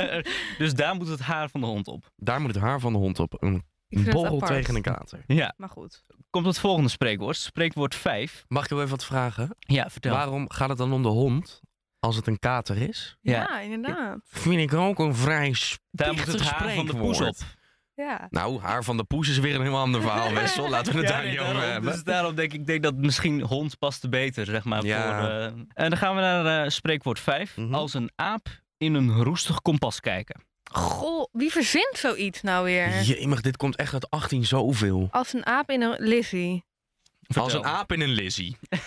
Speaker 2: dus daar moet het haar van de hond op.
Speaker 1: Daar moet het haar van de hond op. Een
Speaker 3: Ik vind
Speaker 1: borrel
Speaker 3: het apart.
Speaker 1: tegen een kater.
Speaker 2: Ja.
Speaker 3: Maar goed.
Speaker 2: Komt het volgende spreekwoord. Spreekwoord 5.
Speaker 1: Mag ik wel even wat vragen?
Speaker 2: Ja, vertel.
Speaker 1: Waarom gaat het dan om de hond als het een kater is?
Speaker 3: Ja,
Speaker 2: Ja.
Speaker 3: inderdaad.
Speaker 1: Vind ik ook een vrij
Speaker 2: Daar moet het
Speaker 1: spichtig
Speaker 2: haar van de poes op.
Speaker 1: spreekwoord.
Speaker 3: Ja.
Speaker 1: Nou, haar van de poes is weer een heel ander verhaal, Wessel. Laten we het
Speaker 2: Ja,
Speaker 1: daar
Speaker 2: nee,
Speaker 1: niet
Speaker 2: daarom.
Speaker 1: over hebben.
Speaker 2: Dus daarom denk ik- ik denk dat misschien hond past beter, zeg maar.
Speaker 1: Ja.
Speaker 2: Voor, eh, En dan gaan we naar eh, spreekwoord 5.
Speaker 1: Mhm.
Speaker 2: Als een aap in een roestig kompas kijken.
Speaker 3: Goh, wie verzint zoiets nou weer?
Speaker 1: Jemig, dit komt echt uit 18 zoveel.
Speaker 3: Als een aap in een Lizzie.
Speaker 1: Als
Speaker 2: Vertel.
Speaker 1: een aap in een lizzie. In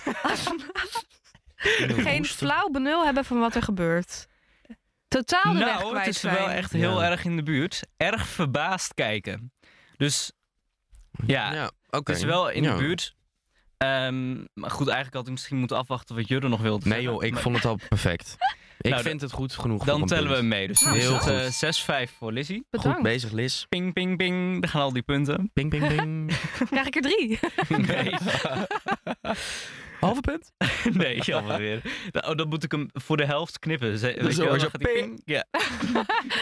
Speaker 1: een
Speaker 3: Geen
Speaker 1: roestig-
Speaker 3: flauw benul hebben van wat er gebeurt. Totaal de weg
Speaker 2: Nou,
Speaker 3: kwijt
Speaker 2: het is
Speaker 3: zijn.
Speaker 2: wel echt heel
Speaker 1: Ja.
Speaker 2: erg in de buurt. Erg verbaasd kijken. Dus Ja,
Speaker 1: Ja, oké.
Speaker 2: het is wel in
Speaker 1: Ja.
Speaker 2: de buurt. Ehm, maar goed, eigenlijk had ik misschien moeten afwachten wat Jurre nog wilde
Speaker 1: Nee
Speaker 2: zeggen,
Speaker 1: joh, ik
Speaker 2: maar
Speaker 1: vond het al perfect. Ik
Speaker 2: Nou,
Speaker 1: vind het goed genoeg voor
Speaker 2: Dan
Speaker 1: een
Speaker 2: tellen we
Speaker 1: punt.
Speaker 2: hem mee. Dus
Speaker 3: Nou,
Speaker 2: heel
Speaker 1: heel
Speaker 2: goed.
Speaker 1: goed.
Speaker 2: 6-5 voor Lizzie.
Speaker 1: Goed
Speaker 3: Bedankt.
Speaker 1: bezig, Liz.
Speaker 2: Ping, ping, ping. Daar gaan al die punten.
Speaker 1: Ping, ping, ping.
Speaker 3: Krijg ik er drie?
Speaker 2: Nee,
Speaker 1: Halve punt.
Speaker 2: nee jammer weer. Nou, oh, dan moet ik hem voor de helft knippen. Ze- weet
Speaker 1: zo,
Speaker 2: je wel,
Speaker 1: zo,
Speaker 2: dan gaat die ping. Ja.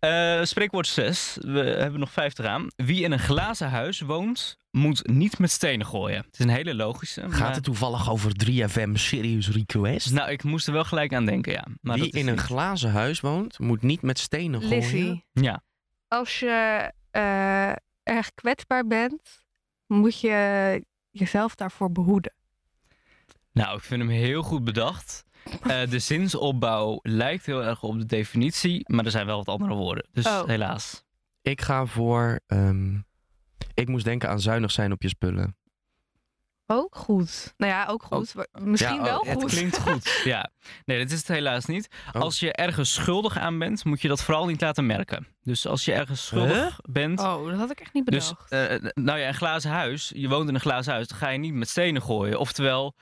Speaker 2: Eh, spreekwoord 6. We hebben nog 50 aan. Wie in een glazen huis woont, moet niet met stenen gooien. Het is een hele logische. maar-
Speaker 1: Gaat het toevallig over 3FM Serious Request?
Speaker 2: Nou, ik moest er wel gelijk aan denken, ja. Maar
Speaker 1: Wie
Speaker 2: dat is
Speaker 1: in een
Speaker 2: niet-
Speaker 1: glazen huis woont, moet niet met stenen gooien.
Speaker 3: Lizzie,
Speaker 2: Ja.
Speaker 3: als je eh, erg kwetsbaar bent, moet je jezelf daarvoor behoeden.
Speaker 2: Nou, ik vind hem heel goed bedacht. Eh, de zinsopbouw lijkt heel erg op de definitie, maar er zijn wel wat andere woorden. Dus
Speaker 3: Oh.
Speaker 2: helaas.
Speaker 1: Ik ga voor... ehm, ik moest denken aan zuinig zijn op je spullen.
Speaker 3: Ook goed. Nou ja, ook goed. maar Misschien
Speaker 1: Ja, oh,
Speaker 3: wel
Speaker 1: het
Speaker 3: goed.
Speaker 2: Klinkt goed. Ja. Nee, dat is het helaas niet.
Speaker 1: Oh.
Speaker 2: Als je ergens schuldig aan bent, moet je dat vooral niet laten merken. Dus als je ergens schuldig bent...
Speaker 3: Oh, dat had ik echt niet
Speaker 2: Dus,
Speaker 3: bedacht.
Speaker 2: eh, nou ja, een glazen huis. Je woont in een glazen huis, dan ga je niet met stenen gooien. Oftewel...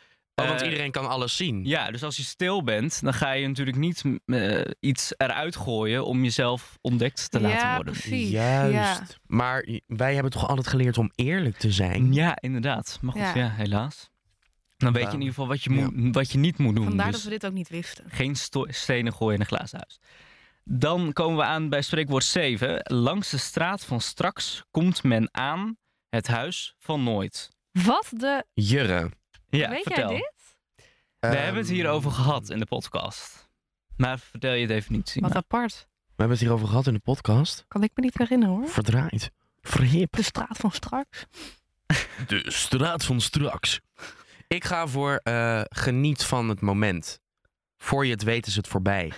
Speaker 1: Oh, want
Speaker 2: eh,
Speaker 1: iedereen kan alles zien.
Speaker 2: Ja, dus als je stil bent, dan ga je natuurlijk niet m, eh, iets eruit gooien om jezelf ontdekt te laten
Speaker 3: ja,
Speaker 2: worden.
Speaker 3: precies. Ja.
Speaker 1: Juist. Maar j- wij hebben toch altijd geleerd om eerlijk te zijn?
Speaker 2: Ja, inderdaad. Maar goed, ja,
Speaker 3: Ja.
Speaker 2: helaas. Dan weet je in
Speaker 1: Ja.
Speaker 2: ieder geval wat je, moet, wat je niet moet doen.
Speaker 3: Vandaar
Speaker 2: Dus
Speaker 3: dat we dit ook niet wisten.
Speaker 2: geen sto- stenen gooien in een glazen huis. Dan komen we aan bij spreekwoord 7. Langs de straat van straks komt men aan het huis van nooit.
Speaker 3: Wat de...
Speaker 1: Jurre.
Speaker 2: Ja,
Speaker 3: Weet
Speaker 2: vertel.
Speaker 3: jij dit?
Speaker 2: We hebben
Speaker 1: Ehm,
Speaker 2: het hierover gehad in de podcast. Maar vertel je definitie.
Speaker 3: Wat
Speaker 2: maar.
Speaker 3: apart.
Speaker 1: We hebben het hierover gehad in de podcast.
Speaker 3: Kan ik me niet herinneren hoor.
Speaker 1: Verdraaid. Verhip.
Speaker 3: De straat van straks.
Speaker 1: De straat van straks. Ik ga voor eh, geniet van het moment. Voor je het weet is het voorbij.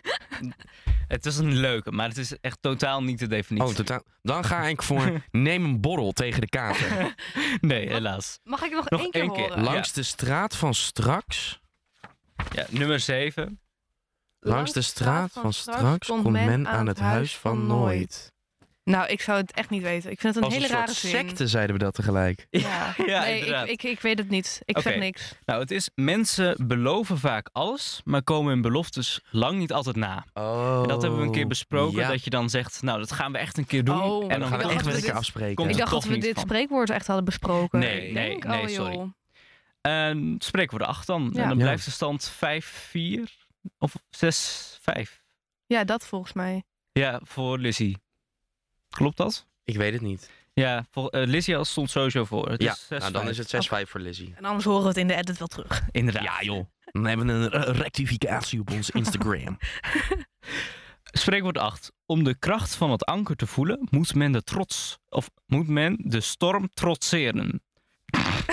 Speaker 2: Het is een leuke, maar het is echt totaal niet de definitie.
Speaker 1: Oh, totaal. Dan ga ik voor neem een borrel tegen de kater.
Speaker 2: Nee, helaas.
Speaker 3: Mag ik nog,
Speaker 2: Nog
Speaker 3: één keer,
Speaker 2: één keer.
Speaker 3: horen?
Speaker 2: La-
Speaker 1: Langs de straat van straks.
Speaker 2: Ja, nummer 7.
Speaker 1: Langs de straat van straks komt men aan het huis van nooit.
Speaker 3: Nou, ik zou het echt niet weten. Ik vind het een
Speaker 1: Als een
Speaker 3: hele
Speaker 1: soort
Speaker 3: rare zin.
Speaker 1: secte zeiden we dat tegelijk.
Speaker 3: Ja,
Speaker 2: Ja,
Speaker 3: nee,
Speaker 2: inderdaad.
Speaker 3: ik, ik, ik weet het niet. Ik
Speaker 2: Oké.
Speaker 3: zeg niks.
Speaker 2: Nou, het is mensen beloven vaak alles, maar komen hun beloftes lang niet altijd na.
Speaker 1: Oh.
Speaker 2: En dat hebben we een keer besproken,
Speaker 1: Ja.
Speaker 2: dat je dan zegt, nou, dat gaan we echt een keer doen.
Speaker 3: Oh,
Speaker 2: en dan
Speaker 1: We gaan het echt
Speaker 3: Ik dacht
Speaker 1: met
Speaker 3: dat
Speaker 1: elkaar
Speaker 3: dit-
Speaker 1: afspreken.
Speaker 2: Komt
Speaker 3: ik
Speaker 2: er
Speaker 3: dacht dat
Speaker 2: toch
Speaker 3: we
Speaker 2: niet
Speaker 3: dit
Speaker 2: van.
Speaker 3: spreekwoord echt hadden besproken.
Speaker 2: Nee,
Speaker 3: Ik
Speaker 2: nee,
Speaker 3: denk,
Speaker 2: nee,
Speaker 3: oh,
Speaker 2: sorry.
Speaker 3: joh.
Speaker 2: En spreekwoord 8 dan.
Speaker 3: Ja.
Speaker 2: En dan
Speaker 1: Ja.
Speaker 2: blijft de stand 5-4 of 6-5.
Speaker 3: Ja, dat volgens mij.
Speaker 2: Ja, voor Lizzie. Klopt dat?
Speaker 1: Ik weet het niet.
Speaker 2: Ja, voor, eh, Lizzie als stond sowieso voor. Het
Speaker 1: Ja,
Speaker 2: is 6-5.
Speaker 1: nou, dan is het 6-5 voor Lizzie.
Speaker 3: En anders horen we het in de edit wel terug.
Speaker 2: Inderdaad.
Speaker 1: Ja, joh. Dan hebben we een eh, rectificatie op ons Instagram.
Speaker 2: Spreekwoord 8. Om de kracht van het anker te voelen, moet men de trots of moet men de storm trotseren.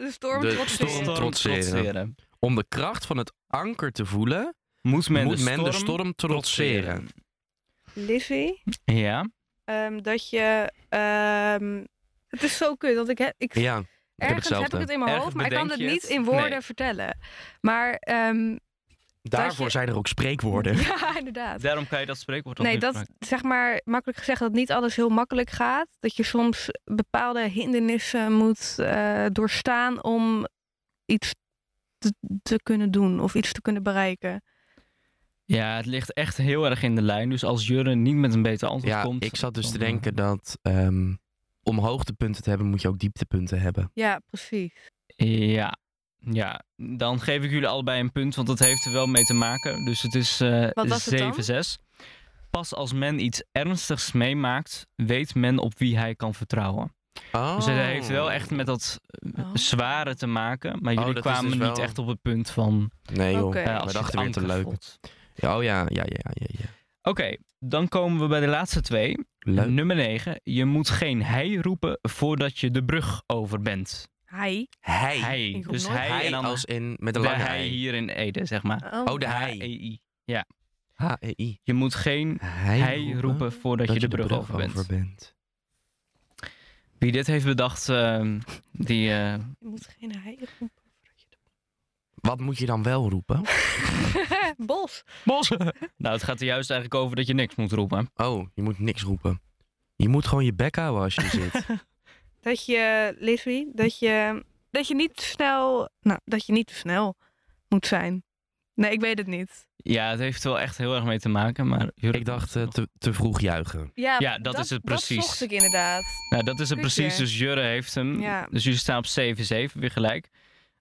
Speaker 3: De storm
Speaker 1: De
Speaker 3: trots
Speaker 1: storm
Speaker 3: weer.
Speaker 1: trotseren. Om de kracht van het anker te voelen,
Speaker 2: Moet men,
Speaker 1: moet
Speaker 2: de,
Speaker 1: men
Speaker 2: storm
Speaker 1: de storm trotseren.
Speaker 3: Lizzie,
Speaker 2: Ja.
Speaker 3: ehm, dat je... ehm, het is zo kut, want ik, he- ik
Speaker 1: Ja, ik heb
Speaker 3: ergens heb,
Speaker 1: hetzelfde.
Speaker 3: ik het in mijn
Speaker 2: Ergens
Speaker 3: hoofd, maar ik kan het
Speaker 2: bedenk je
Speaker 3: niet
Speaker 2: het.
Speaker 3: in woorden
Speaker 2: Nee.
Speaker 3: vertellen. Maar ehm,
Speaker 1: Daarvoor
Speaker 3: je-
Speaker 1: zijn er ook spreekwoorden.
Speaker 3: ja, inderdaad.
Speaker 2: Daarom kan je dat spreekwoord ook
Speaker 3: Nee,
Speaker 2: niet
Speaker 3: dat
Speaker 2: maken.
Speaker 3: zeg maar makkelijk gezegd dat niet alles heel makkelijk gaat. Dat je soms bepaalde hindernissen moet eh, doorstaan om iets te, te kunnen doen of iets te kunnen bereiken.
Speaker 2: Ja, het ligt echt heel erg in de lijn. Dus als Jurre niet met een beter antwoord
Speaker 1: Ja,
Speaker 2: komt...
Speaker 1: ik zat dus te
Speaker 2: dan, eh,
Speaker 1: denken dat ehm, om hoogtepunten te hebben, moet je ook dieptepunten hebben.
Speaker 3: Ja, precies.
Speaker 2: Ja. Ja, dan geef ik jullie allebei een punt, want dat heeft er wel mee te maken. Dus het is eh,
Speaker 3: Wat was het dan?
Speaker 2: 7-6. Pas als men iets ernstigs meemaakt, weet men op wie hij kan vertrouwen.
Speaker 1: Oh.
Speaker 2: Dus het heeft wel echt met dat eh,
Speaker 3: Oh.
Speaker 2: zware te maken. Maar
Speaker 1: Oh,
Speaker 2: jullie
Speaker 1: dat is
Speaker 2: kwamen
Speaker 1: dus wel-
Speaker 2: niet echt op het punt van...
Speaker 1: Nee joh,
Speaker 3: Oké.
Speaker 2: eh,
Speaker 3: Ja,
Speaker 1: we
Speaker 2: als je het
Speaker 1: dachten weer te
Speaker 2: anker
Speaker 1: leuk.
Speaker 2: voelt.
Speaker 1: Ja, Oh ja, ja, ja, ja. ja.
Speaker 2: Oké, dan komen we bij de laatste twee.
Speaker 1: Leuk.
Speaker 2: Nummer 9. Je moet geen hij roepen voordat je de brug over bent.
Speaker 3: Hij.
Speaker 1: Hij.
Speaker 2: Hij.
Speaker 3: Ik roep
Speaker 2: Dus
Speaker 3: nooit
Speaker 2: hij,
Speaker 1: Hij
Speaker 2: en dan
Speaker 1: als in met een
Speaker 2: de
Speaker 1: lange
Speaker 2: hij
Speaker 1: ei.
Speaker 2: hier in Ede, zeg maar.
Speaker 1: Oh, de hij.
Speaker 2: H-E-I.
Speaker 1: H-E-I.
Speaker 2: E Je moet geen
Speaker 1: E, Hij,
Speaker 2: hij roepen voordat je de brug, over bent. Wie dit heeft bedacht, ehm, die... eh,
Speaker 3: Je moet geen hij roepen.
Speaker 1: Wat moet je dan wel roepen?
Speaker 3: Bos.
Speaker 1: Bossen.
Speaker 2: nou, het gaat er juist eigenlijk over dat je niks moet roepen.
Speaker 1: Oh, je moet niks roepen. Je moet gewoon je bek houden als je er zit.
Speaker 3: Dat je, Lizzie, dat je, dat je niet snel, nou, dat je niet te snel moet zijn. Nee, ik weet het niet.
Speaker 2: Ja, het heeft wel echt heel erg mee te maken, maar...
Speaker 1: Ik dacht eh, te, te vroeg juichen.
Speaker 2: Ja, dat is het precies.
Speaker 3: Dat zocht ik inderdaad.
Speaker 2: Nou, dat is het
Speaker 3: Kusje.
Speaker 2: precies. Dus Jurre heeft hem.
Speaker 3: Ja.
Speaker 2: Dus jullie staan op 7-7, weer gelijk.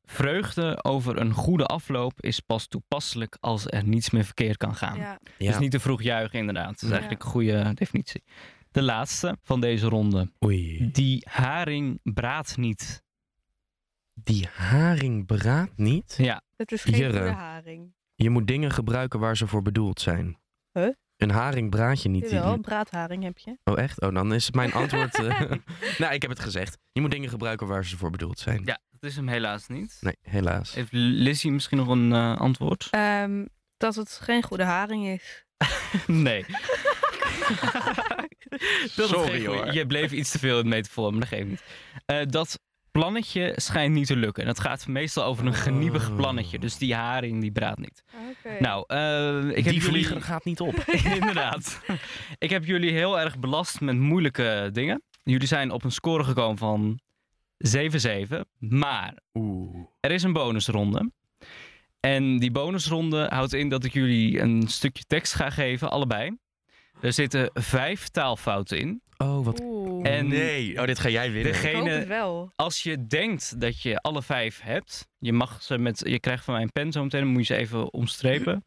Speaker 2: Vreugde over een goede afloop is pas toepasselijk als er niets meer verkeerd kan gaan.
Speaker 3: Ja.
Speaker 1: Ja.
Speaker 2: Dus niet te vroeg juichen, inderdaad. Dat is
Speaker 1: Ja.
Speaker 2: eigenlijk een goede definitie. De laatste van deze ronde.
Speaker 1: Oei.
Speaker 2: Die haring braadt niet.
Speaker 1: Die haring braadt niet.
Speaker 2: Ja,
Speaker 3: Het is geen
Speaker 1: Jurre.
Speaker 3: goede haring.
Speaker 1: Je moet dingen gebruiken waar ze voor bedoeld zijn.
Speaker 3: Huh?
Speaker 1: Een haring braadt je niet.
Speaker 3: Jawel, braadharing heb je.
Speaker 1: Oh, echt? Oh, dan is het mijn antwoord. eh, nou, ik heb het gezegd. Je moet dingen gebruiken waar ze voor bedoeld zijn.
Speaker 2: ja dat is hem helaas niet.
Speaker 1: Nee, helaas.
Speaker 2: Heeft Lizzie misschien nog een eh, antwoord?
Speaker 3: Ehm, dat het geen goede haring is.
Speaker 2: nee. Dat is
Speaker 1: Sorry
Speaker 2: geen goeie.
Speaker 1: hoor.
Speaker 2: Je bleef iets te veel in metafoor, maar dat geeft niet. Eh, dat plannetje schijnt niet te lukken. En dat gaat meestal over een geniepig
Speaker 1: Oh.
Speaker 2: plannetje. Dus die haring, die braadt niet. Nou, eh, ik
Speaker 1: die
Speaker 2: heb jullie...
Speaker 1: vlieger gaat niet op.
Speaker 2: Inderdaad. ik heb jullie heel erg belast met moeilijke dingen. Jullie zijn op een score gekomen van 7-7. Maar
Speaker 1: Oeh.
Speaker 2: er is een bonusronde. En die bonusronde houdt in dat ik jullie een stukje tekst ga geven, allebei. Er zitten vijf taalfouten in.
Speaker 1: Oh, wat.
Speaker 2: En-
Speaker 1: nee. Oh, dit ga jij winnen.
Speaker 3: ik hoop het
Speaker 2: Degene,
Speaker 3: wel.
Speaker 2: als je denkt dat je alle vijf hebt, je, mag ze met, je krijgt van mij een pen zo meteen, dan moet je ze even omstrepen.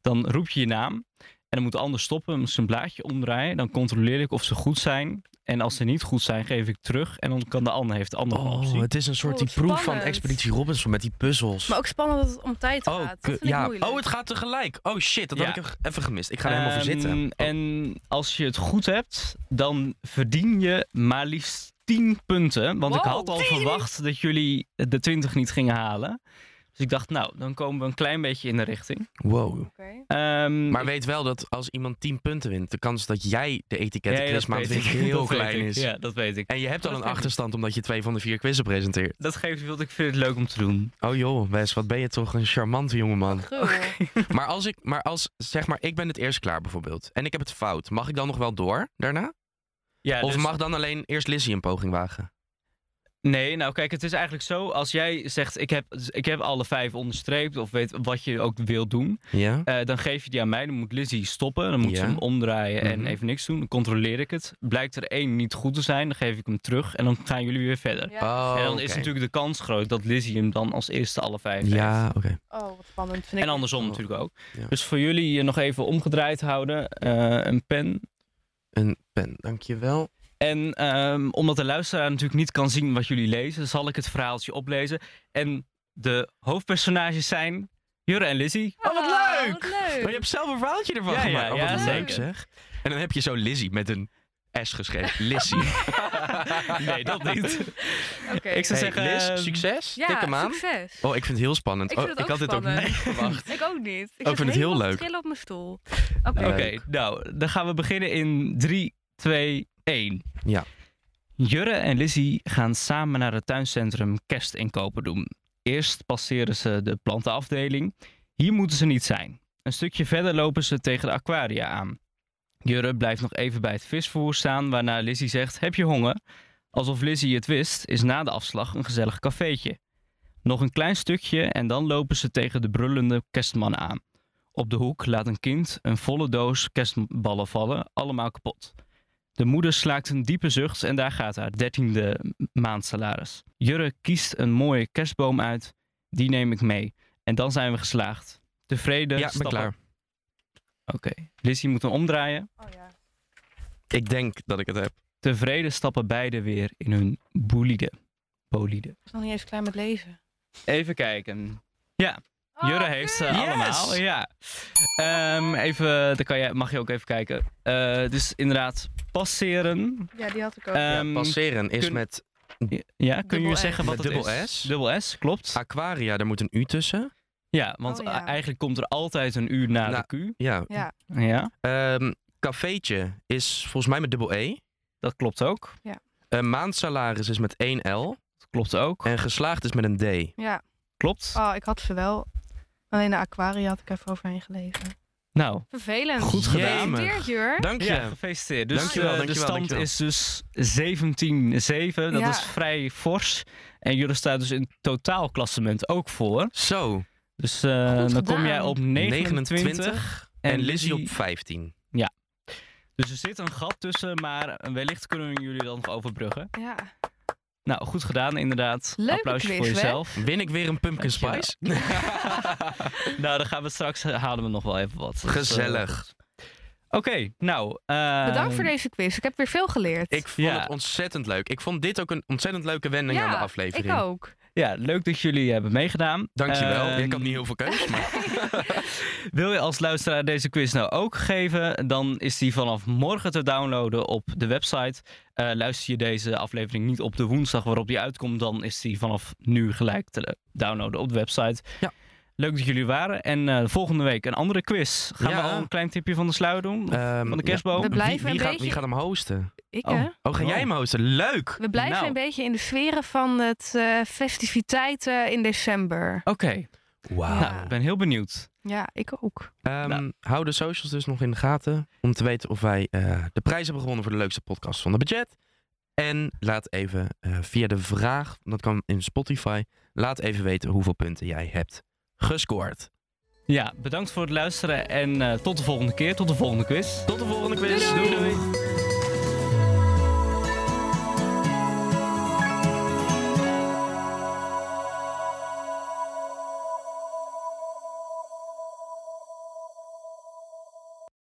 Speaker 2: Dan roep je je naam en dan moet de ander stoppen, dan moet ze een blaadje omdraaien. Dan controleer ik of ze goed zijn. En als ze niet goed zijn, geef ik terug. En dan kan de ander, heeft de ander een
Speaker 1: Oh,
Speaker 2: optie.
Speaker 1: het is een soort
Speaker 3: Oh,
Speaker 1: die
Speaker 3: wat
Speaker 1: proef van
Speaker 3: spannend.
Speaker 1: Expeditie Robinson met die puzzels.
Speaker 3: Maar ook spannend dat het om tijd
Speaker 1: oh,
Speaker 3: gaat. Dat
Speaker 1: ku-
Speaker 3: vind ik
Speaker 1: ja.
Speaker 3: moeilijk.
Speaker 1: oh, het gaat tegelijk. Oh shit, dat
Speaker 2: Ja.
Speaker 1: had ik er even gemist. Ik ga er helemaal voor
Speaker 2: Ehm,
Speaker 1: zitten. Oh.
Speaker 2: En als je het goed hebt, dan verdien je maar liefst 10 punten. Want ik
Speaker 3: Wow,
Speaker 2: had al
Speaker 3: 10?
Speaker 2: verwacht dat jullie de 20 niet gingen halen. Dus ik dacht, nou, dan komen we een klein beetje in de richting.
Speaker 1: Wow.
Speaker 3: Oké.
Speaker 2: Ehm,
Speaker 1: Maar
Speaker 2: ik-
Speaker 1: weet wel dat als iemand 10 punten wint, de kans dat jij de etiketten
Speaker 2: Nee,
Speaker 1: quiz
Speaker 2: dat
Speaker 1: maakt
Speaker 2: weet ik.
Speaker 1: heel
Speaker 2: Dat weet
Speaker 1: klein
Speaker 2: ik.
Speaker 1: is.
Speaker 2: Ja, dat weet ik.
Speaker 1: En je hebt al
Speaker 2: Dat
Speaker 1: een
Speaker 2: weet ik.
Speaker 1: achterstand omdat je twee van de vier quizzen presenteert.
Speaker 2: Dat geeft wel, ik vind het leuk om te doen.
Speaker 1: Oh joh, Wes, wat ben je toch een charmante jongeman.
Speaker 3: Gul.
Speaker 1: Maar als ik, maar als, zeg maar, ik ben het eerst klaar bijvoorbeeld. En ik heb het fout. Mag ik dan nog wel door daarna?
Speaker 2: Ja,
Speaker 1: of
Speaker 2: dus-
Speaker 1: mag dan alleen eerst Lizzie een poging wagen?
Speaker 2: Nee, nou kijk, het is eigenlijk zo. Als jij zegt, ik heb, ik heb alle vijf onderstreept of weet wat je ook wilt doen.
Speaker 1: Ja?
Speaker 2: Eh, dan geef je die aan mij, dan moet Lizzie stoppen. Dan moet ze
Speaker 1: Ja.
Speaker 2: hem omdraaien en
Speaker 1: Mhm.
Speaker 2: even niks doen. Dan controleer ik het. Blijkt er één niet goed te zijn, dan geef ik hem terug en dan gaan jullie weer verder.
Speaker 3: Ja.
Speaker 1: Oh,
Speaker 2: en dan is
Speaker 1: oké.
Speaker 2: natuurlijk de kans groot dat Lizzie hem dan als eerste alle vijf heeft.
Speaker 1: Ja, oké.
Speaker 3: Oh, wat spannend vind ik.
Speaker 2: En andersom
Speaker 1: Oh.
Speaker 2: natuurlijk ook.
Speaker 1: Ja.
Speaker 2: Dus voor jullie eh, nog even omgedraaid houden. eh, een pen.
Speaker 1: Een pen, dankjewel.
Speaker 3: Oh,
Speaker 2: En ehm, omdat de luisteraar natuurlijk niet kan zien wat jullie lezen, zal ik het verhaaltje oplezen. En de hoofdpersonages zijn Jurre en Lizzie.
Speaker 1: Oh, wat leuk!
Speaker 3: Ah, wat leuk!
Speaker 1: Maar je hebt zelf een verhaaltje ervan
Speaker 2: Ja, ja,
Speaker 1: gemaakt. oh,
Speaker 2: ja,
Speaker 1: wat leuk
Speaker 3: zeker.
Speaker 1: zeg. En dan heb je zo Lizzie met een S geschreven. Lizzie.
Speaker 2: nee, dat niet.
Speaker 3: Oké.
Speaker 2: Ik zou
Speaker 1: Hey,
Speaker 2: zeggen,
Speaker 1: Liz,
Speaker 2: eh,
Speaker 1: succes.
Speaker 3: Ja,
Speaker 1: Tik hem aan.
Speaker 3: succes.
Speaker 1: ehm, Oh, ik vind het heel spannend.
Speaker 3: Ik
Speaker 1: oh,
Speaker 3: vind het
Speaker 1: ik
Speaker 3: ook
Speaker 1: had dit ook niet
Speaker 3: spannend.
Speaker 1: verwacht.
Speaker 3: Ik ook niet. Ik,
Speaker 1: vind het
Speaker 3: zit
Speaker 1: heel
Speaker 3: helemaal te
Speaker 1: leuk.
Speaker 3: trillen op mijn stoel.
Speaker 1: Ja.
Speaker 3: Oké.
Speaker 2: Oké,
Speaker 1: Leuk.
Speaker 2: nou, dan gaan we beginnen in 3, 2, 1.
Speaker 1: Ja.
Speaker 2: Jurre en Lizzie gaan samen naar het tuincentrum kerstinkopen doen. Eerst passeren ze de plantenafdeling. Hier moeten ze niet zijn. Een stukje verder lopen ze tegen de aquaria aan. Jurre blijft nog even bij het visvoer staan, waarna Lizzie zegt: Heb je honger? Alsof Lizzie het wist, is na de afslag een gezellig cafeetje. Nog een klein stukje en dan lopen ze tegen de brullende kerstman aan. Op de hoek laat een kind een volle doos kerstballen vallen, allemaal kapot. De moeder slaakt een diepe zucht en daar gaat haar dertiende maandsalaris. Jurre kiest een mooie kerstboom uit, die neem ik mee. En dan zijn we geslaagd. Tevreden
Speaker 1: Ja, ik ben
Speaker 2: stappen-
Speaker 1: klaar.
Speaker 2: Oké, Lizzie moet hem omdraaien.
Speaker 3: Oh, ja.
Speaker 1: Ik denk dat ik het heb.
Speaker 2: Tevreden stappen beiden weer in hun bolide. Bolide.
Speaker 3: Ik was nog niet eens klaar met lezen.
Speaker 2: Even kijken. Jurre
Speaker 3: Oh,
Speaker 2: heeft ze
Speaker 3: kut.
Speaker 1: Yes!
Speaker 2: allemaal. Ja. Ehm, even, dan kan je, mag je ook even kijken. Eh, dus inderdaad, passeren.
Speaker 3: Ja, die had ik ook.
Speaker 2: Ehm,
Speaker 1: ja, passeren is
Speaker 2: kun-
Speaker 1: met
Speaker 2: ja, kun je
Speaker 3: Dubbel S.
Speaker 2: zeggen wat
Speaker 1: Met
Speaker 2: het
Speaker 1: dubbel
Speaker 2: is?
Speaker 1: S? Ah.
Speaker 2: Dubbel S, klopt.
Speaker 1: aquaria, daar moet een U tussen.
Speaker 2: Ja, want
Speaker 3: Oh, ja.
Speaker 2: eh, eigenlijk komt er altijd een U na
Speaker 1: Nou.
Speaker 2: de Q.
Speaker 1: Ja.
Speaker 3: ja,
Speaker 2: Ja,
Speaker 1: Ehm cafeetje is volgens mij met dubbel E.
Speaker 2: dat klopt ook.
Speaker 1: Eh, maandsalaris is met één L.
Speaker 2: Dat klopt ook.
Speaker 1: En geslaagd is met een D.
Speaker 3: ja.
Speaker 2: Klopt.
Speaker 3: Oh, ik had ze wel. Alleen de aquaria had ik even overheen gelezen.
Speaker 2: Nou,
Speaker 3: Vervelend.
Speaker 2: Goed gedaan.
Speaker 3: Gefeliciteerd, Jur.
Speaker 1: Dank je.
Speaker 2: ja, gefeliciteerd. Dus
Speaker 1: Dankjewel,
Speaker 2: eh,
Speaker 1: dankjewel, dankjewel.
Speaker 2: de stand is dus 17-7. Dat
Speaker 3: Ja.
Speaker 2: is vrij fors. En jullie staan dus in totaalklassement ook voor.
Speaker 1: Zo,
Speaker 2: Dus eh, dan
Speaker 3: gedaan.
Speaker 2: kom jij op 29.
Speaker 1: 29 en Lizzie
Speaker 2: die-
Speaker 1: op 15.
Speaker 2: Dus er zit een gat tussen, maar eh, wellicht kunnen we jullie dan nog overbruggen.
Speaker 3: Ja.
Speaker 2: Nou, goed gedaan inderdaad.
Speaker 3: Leuke
Speaker 2: Applausje
Speaker 3: quiz,
Speaker 2: voor
Speaker 3: hè?
Speaker 2: jezelf.
Speaker 1: Win ik weer een pumpkin
Speaker 2: Dankjewel.
Speaker 1: spice?
Speaker 2: nou, dan gaan we straks, halen we nog wel even wat. Dus, eh,
Speaker 1: Gezellig.
Speaker 2: Oké, nou. eh,
Speaker 3: Bedankt voor deze quiz. Ik heb weer veel geleerd.
Speaker 1: Ik vond
Speaker 2: Ja.
Speaker 1: het ontzettend leuk. Ik vond dit ook een ontzettend leuke wending
Speaker 3: ja,
Speaker 1: aan de aflevering.
Speaker 3: ik ook.
Speaker 2: Ja, leuk dat jullie hebben meegedaan.
Speaker 1: Dankjewel.
Speaker 2: Ehm,
Speaker 1: ik had niet heel veel keus, maar
Speaker 2: Wil je als luisteraar deze quiz nou ook geven? Dan is die vanaf morgen te downloaden op de website. Eh, luister je deze aflevering niet op de woensdag waarop die uitkomt, dan is die vanaf nu gelijk te downloaden op de website.
Speaker 1: Ja.
Speaker 2: Leuk dat jullie er waren. En eh, volgende week een andere quiz. Gaan
Speaker 1: Ja.
Speaker 2: we al een klein tipje van de sluier doen? Of
Speaker 1: Ehm,
Speaker 2: van de
Speaker 1: ja.
Speaker 2: kerstboom?
Speaker 3: We blijven
Speaker 1: wie, wie
Speaker 3: een
Speaker 1: gaat,
Speaker 3: beetje-
Speaker 1: Wie gaat hem hosten?
Speaker 3: Ik,
Speaker 2: Oh.
Speaker 3: hè?
Speaker 1: Oh, ga
Speaker 2: Wow.
Speaker 1: jij hem hosten? Leuk!
Speaker 3: We blijven
Speaker 2: Nou.
Speaker 3: een beetje in de sferen van het eh, festiviteiten in december.
Speaker 2: Oké,
Speaker 1: Wauw.
Speaker 2: nou, ik ben heel benieuwd.
Speaker 3: Ja, ik ook.
Speaker 1: Ehm,
Speaker 2: Nou.
Speaker 1: Hou de socials dus nog in de gaten. Om te weten of wij eh, de prijs hebben gewonnen voor de leukste podcast van de budget. En laat even eh, via de vraag, dat kan in Spotify, laat even weten hoeveel punten jij hebt gescoord.
Speaker 2: Ja, bedankt voor het luisteren en eh, tot de volgende keer, tot de volgende quiz.
Speaker 1: Tot de volgende quiz.
Speaker 3: Doei, doei.
Speaker 1: doei.